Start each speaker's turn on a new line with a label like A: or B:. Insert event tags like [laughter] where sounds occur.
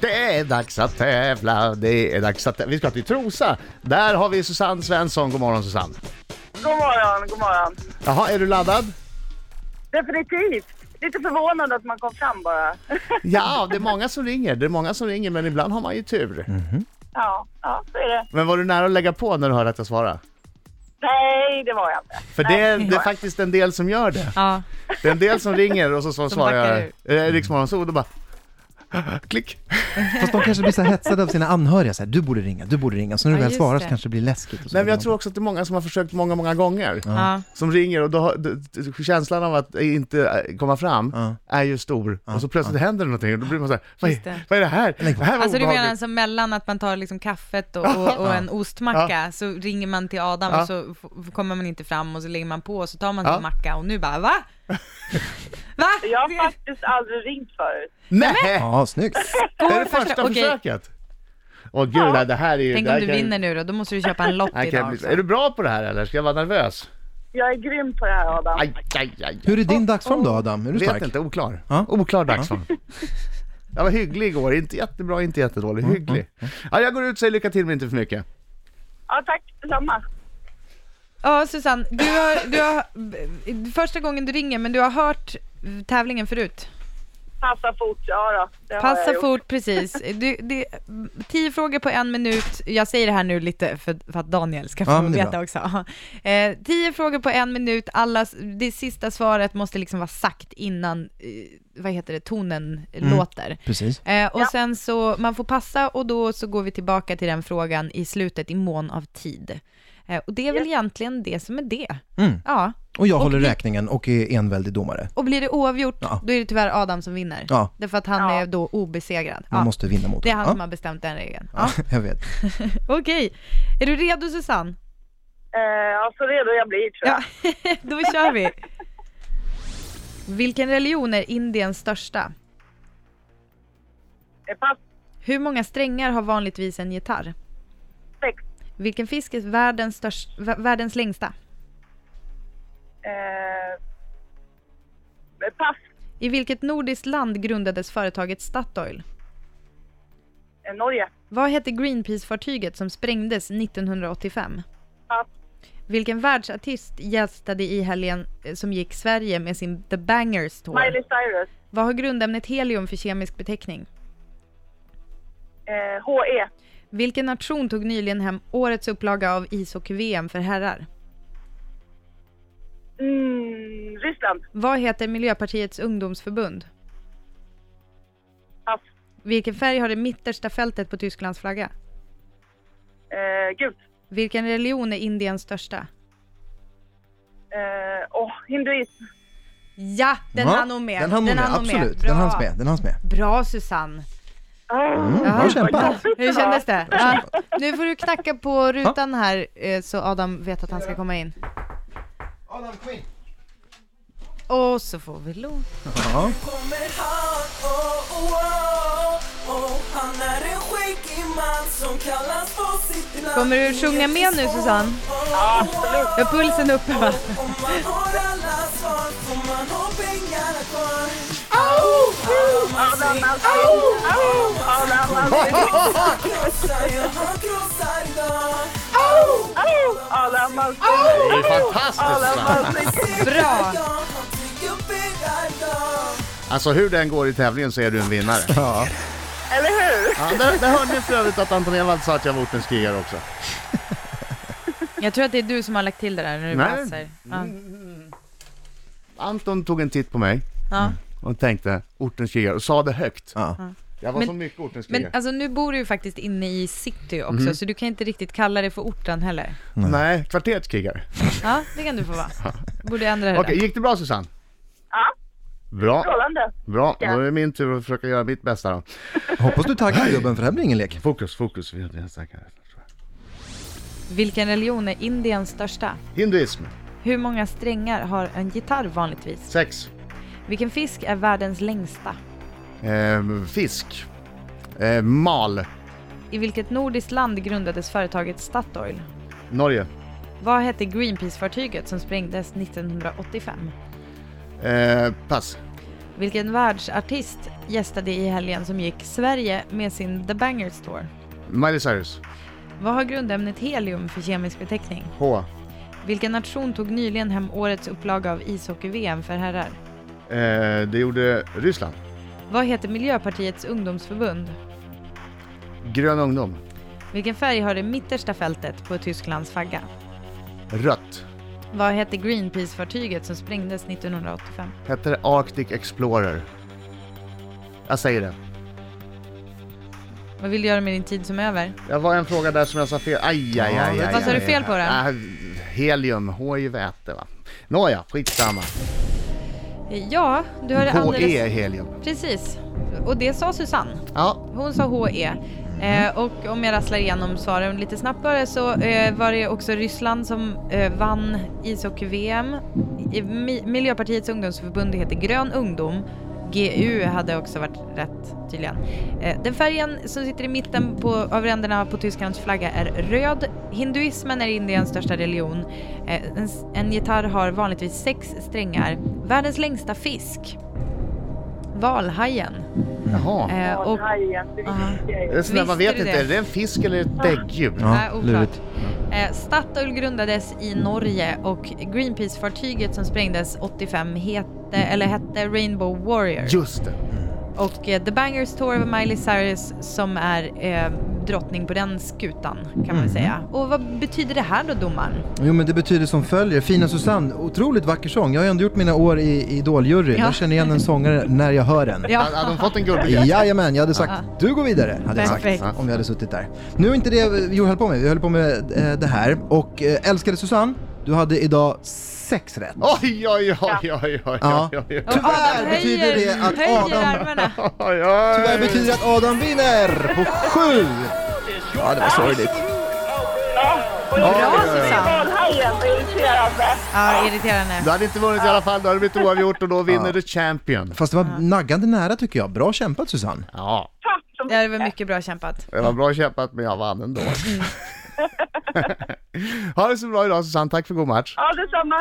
A: Det är dags att tävla, det är dags att tävla. Vi ska till Trosa. Där har vi Susanne Svensson. God morgon Susanne.
B: God morgon, god morgon.
A: Jaha, är du laddad?
B: Definitivt. Lite förvånad att man kom fram bara. [laughs]
A: Ja, det är många som ringer. Det är många som ringer, men ibland har man ju tur.
B: ja, ja, så är det.
A: Men var du nära att lägga på när du hörde att jag svarade?
B: Nej, det var jag inte.
A: För
B: Nej,
A: det, är-
B: var
A: det är
B: jag
A: faktiskt en del som gör det.
C: Ja.
A: Det är en del som ringer och så, så
C: backar
A: svarar jag eh, Riksmorgon så och då bara [laughs] klick.
D: Fast de kanske blir så här hetsade av sina anhöriga, så här, du borde ringa, du borde ringa. Så när du
C: Ja,
D: väl
C: just
D: svarar
C: det.
D: så kanske det blir läskigt. Och så
A: Nej men jag
D: blir
A: tror också att det är många som har försökt många, många gånger.
C: Ja.
A: Som ringer och då, har- d- d- känslan av att inte eh, komma fram
D: Ja.
A: är ju stor. Och så plötsligt händer det någonting och då blir man så här, vad
C: Just
A: är,
C: det.
A: vad är det här? Det här var
C: Alltså du menar
A: obehagligt.
C: alltså mellan att man tar liksom kaffet och, och, och en ostmacka, så ringer man till Adam
A: Ja.
C: och så f- kommer man inte fram och så lägger man på och så tar man
A: Ja.
C: sin macka och nu bara va?
A: [laughs]
C: Va?
B: inte. Jag har faktiskt aldrig ringt förut.
A: Nej!
D: de- Ja, snyggt.
A: Det är det
C: Första-
A: första
C: okej.
A: försöket. Åh gud, det här- det här är ju...
C: Tänk
A: det här
C: om du
A: kan-
C: vinner nu då, då måste du köpa en lott
A: det här kan
C: idag
A: bli-
C: också.
A: Är du bra på det här eller? Ska jag vara nervös?
B: Jag är grym på det här, Adam.
A: Aj, aj, aj.
D: Hur är din dagsform då Adam? Är du
A: Vet
D: stark?
A: inte, oklar.
D: Ja.
A: Oklar dagsform. Jag var hygglig igår, inte jättebra, inte jättedålig.
D: Mm,
A: Hygglig. Ja, jag går ut och säger lycka till men inte för mycket.
B: Ja, tack detsamma.
C: Ja Susanne, du har, du har, b- första gången du ringer men du har hört eh, tävlingen förut.
B: Passa fort, ja då. Det har jag
C: Passa
B: gjort.
C: fort, precis. Du, det, tio frågor på en minut. Jag säger det här nu lite för, för att Daniel ska få
D: Ja, men det är
C: veta
D: bra.
C: också. [laughs] Eh, tio frågor på en minut. Alla, det sista svaret måste liksom vara sagt innan, eh, vad heter det, tonen
D: Mm.
C: låter.
D: Precis.
C: Eh, och
B: Ja.
C: sen så, man får passa och då så går vi tillbaka till den frågan i slutet i mån av tid. Eh, och det är väl egentligen det som är det.
D: Mm.
C: Ja.
D: Och jag håller
C: vi-
D: räkningen och är enväldig domare.
C: Och blir det oavgjort,
D: Ja.
C: då är det tyvärr Adam som vinner.
D: Ja.
C: Därför att han
B: Ja.
C: är då obesegrad.
D: Man
C: Ja.
D: måste vinna mot
C: Det är
D: dem.
C: han
D: ja. [laughs]
C: som har bestämt den regeln.
D: Ja, jag vet.
C: [laughs] Okej, är du redo Susanne? [laughs]
B: Eh, ja, så redo jag blir tror jag.
C: Då kör vi! Vilken religion är Indiens största?
B: Eh, Pass
C: Hur många strängar har vanligtvis en gitarr?
B: sex.
C: Vilken fisk är världens, störst, vä- världens längsta?
B: Eh, pass
C: I vilket nordiskt land grundades företaget Statoil?
B: eh, Norge.
C: Vad hette Greenpeace-fartyget som sprängdes 1985?
B: Pass
C: Vilken världsartist gästade i helgen eh, som gick Sverige med sin The Bangers Tour?
B: Miley Cyrus.
C: Vad har grundämnet helium för kemisk beteckning?
B: Eh, HE.
C: Vilken nation tog nyligen hem årets upplaga av ishockey-VM för herrar?
B: Mm, Ryssland.
C: Vad heter Miljöpartiets ungdomsförbund?
B: Pass.
C: Vilken färg har det mittersta fältet på Tysklands flagga?
B: Eh, gult.
C: Vilken religion är Indiens största?
B: Eh, oh, hinduism.
C: Ja, den
D: ja,
C: hann hon med.
D: Den hann hon med,
C: hann hon
D: absolut.
C: Bra.
D: Den hanns med, den hanns med.
C: Bra Susanne.
B: Mm.
D: Bra kämpat.
C: Hur kändes det? Ja. Nu får du knacka på rutan här eh, så Adam vet att han ska komma in.
D: Adam Quinn.
C: Och så får vi låt.
D: Ja.
E: kommer han, oh, oh, oh, oh. Han är en skäggig man som kallas på sitt namn
C: Kommer du sjunga med nu Susanne?
E: Ja, absolut.
C: Jag har pulsen uppe va?
E: oh. Om man har alla svar får man ha pengarna kvar
B: Adam Alsing. Adam Alsing.
E: Han krossar, ja han krossar idag
B: Adam Alsing.
A: Det är fantastiskt!
B: Adam
A: va?
B: Alsing.
C: Bra!
E: Ja, han trycker pengar idag
A: Alltså hur den går i tävlingen så är du en vinnare.
D: Ja.
B: Eller hur?
A: Ja, där, där hörde ni för övrigt att Anton Ewald sa att jag var ortens krigare också.
C: Jag tror att det är du som har lagt till det där när du
A: Nej. Mm.
C: passar. Ja.
A: Anton tog en titt på mig
C: Ja.
A: och tänkte ortens krigare och sa det högt.
D: ja.
A: Jag var
C: Men-
A: så mycket ortens krigare.
C: Men alltså nu bor du ju faktiskt inne i city också,
A: Mm.
C: så du kan inte riktigt kalla det för orten heller.
A: Nej, kvarterets krigare.
C: Ja, det kan du
A: [laughs]
C: få vara. Borde ändra det
A: Okej,
C: där.
A: gick det bra Susanne?
B: Ja.
A: Bra,
B: Strålande.
A: bra. Då är det min tur att försöka göra mitt bästa då.
D: Hoppas du taggar gubben för det här blir ingen lek.
A: Fokus, fokus. Vi har det här starkare, tror jag.
C: Vilken religion är Indiens största?
A: Hinduism,
C: Hur många strängar har en gitarr vanligtvis?
A: sex,
C: Vilken fisk är världens längsta?
A: ehm, fisk, ehm, mal,
C: I vilket nordiskt land grundades företaget Statoil?
A: Norge,
C: Vad hette Greenpeace-fartyget som sprängdes 1985?
A: Ehm, pass,
C: Vilken världsartist gästade i helgen som gick Sverige med sin The Bangers Tour?
A: Miley Cyrus.
C: Vad har grundämnet helium för kemisk beteckning?
A: H.
C: Vilken nation tog nyligen hem årets upplaga av ishockey-VM för herrar?
A: Eh, det gjorde Ryssland.
C: Vad heter Miljöpartiets ungdomsförbund?
A: Grön ungdom.
C: Vilken färg har det mittersta fältet på Tysklands flagga?
A: Rött.
C: Vad hette Greenpeace-fartyget som sprängdes 1985?
A: Hette det Arctic Explorer? Jag säger det.
C: Vad vill du göra med din tid som är över?
A: Jag var en fråga där som jag sa fel. Aj, aj, aj, aj,
C: Vad sa
A: aj.
C: du fel på då?
A: Ah, helium, H är ju väte va. Nåja, skitsamma.
C: Ja, du hörde
A: HE är
C: alldeles...
A: helium.
C: Precis. Och det sa Susanne.
A: Ja,
C: Hon sa HE. Eh, och om jag rasslar igenom svaren lite snabbare så eh, var det också Ryssland som eh, vann ishockey-VM. I- Mi- Miljöpartiets ungdomsförbund heter Grön ungdom. GU hade också varit rätt tydligen. Eh, den färgen som sitter i mitten på, av ränderna på Tysklands flagga är röd. Hinduismen är Indiens största religion. Eh, en, s- en gitarr har vanligtvis sex strängar. Världens längsta fisk. Valhajen.
A: jaha.
C: Eh, och
B: Hajen, det visste jag
A: Det är
B: ju.
A: sådär, man
C: visste
A: vet
C: du
A: inte,
C: det?
A: är det en fisk eller ett däggdjur?
D: Ja,
C: Nej, oklart.
D: lurigt.
C: Eh, Statoil grundades i Norge och Greenpeace-fartyget som sprängdes 85 hette, eller hette Rainbow Warrior.
A: Just det.
C: Och eh, The Bangers Tour med Miley Cyrus som är eh, drottning på den skutan kan
D: Mm.
C: man väl säga. Och vad betyder det här då domaren?
D: Jo men det betyder som följer. Fina Susanne, otroligt vacker sång. Jag har ju ändå gjort mina år i i Idol-juryn.
C: Ja.
D: Jag känner igen en sångare när jag hör den.
C: Ja.
A: Hade de fått en guldbiljett?
D: Jajamän, jag hade sagt du går vidare. Hade jag sagt,
C: Perfekt.
D: om vi hade suttit där. Nu är inte det vi höll på med, vi höll på med eh, det här. Och eh, älskade Susanne, du hade idag sex rätt.
A: Oj, oj, oj, oj, oj,
D: Ja.
A: oj, oj.
C: Och Adam
D: betyder det att
C: höjer
D: Adam-
C: armarna.
A: Oj, oj.
D: Det betyder att Adam vinner på sju! Ja, det var sorgligt.
B: Ja, och jag
C: Bra
A: Oj, oj, oj.
C: Susanne!
B: Valhajen, det är irriterande.
C: Ja, irriterande.
A: Du hade inte vunnit i alla fall, då hade det blivit oavgjort och då vinner the champion.
D: Fast det var naggande nära tycker jag. Bra kämpat Susanne.
A: Ja,
B: Tack så
C: Ja, Det var mycket bra kämpat.
A: det var bra kämpat men jag [laughs] vann ändå. ha det så bra idag Susanne, tack för god match.
B: Ja, detsamma.